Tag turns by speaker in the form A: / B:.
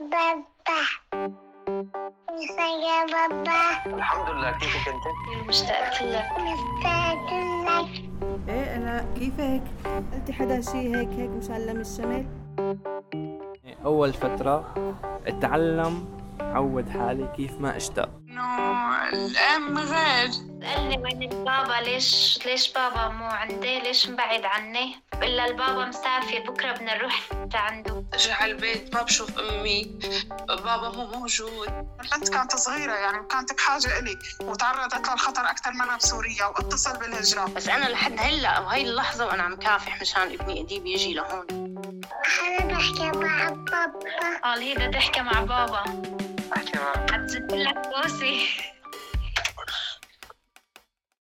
A: بابا مستني بابا
B: الحمد لله كيفك انت؟
C: مشتاقة لك
A: مستعد لك
D: ايه انا كيفك انت حدا شي هيك هيك مشعلم الشمال
E: أول فترة أتعلم أعود حالي كيف ما أشتاق
F: انه الام غير
C: سألني وين بابا ليش ليش بابا مو عندي ليش مبعد عني بقول لها البابا مسافر بكره بدنا نروح لعنده
F: ارجع على البيت ما بشوف امي بابا مو موجود
G: البنت كانت صغيرة يعني وكانت بحاجة إلي وتعرضت للخطر أكثر مرة بسوريا واتصل بالهجرة
F: بس انا لحد هلا بهاي اللحظه وانا عم كافح مشان ابني اديب يجي لهون
A: أنا بحكي مع بابا
C: قال هي بدها تحكي مع بابا
B: احكي معك
C: حتزت لك بوسي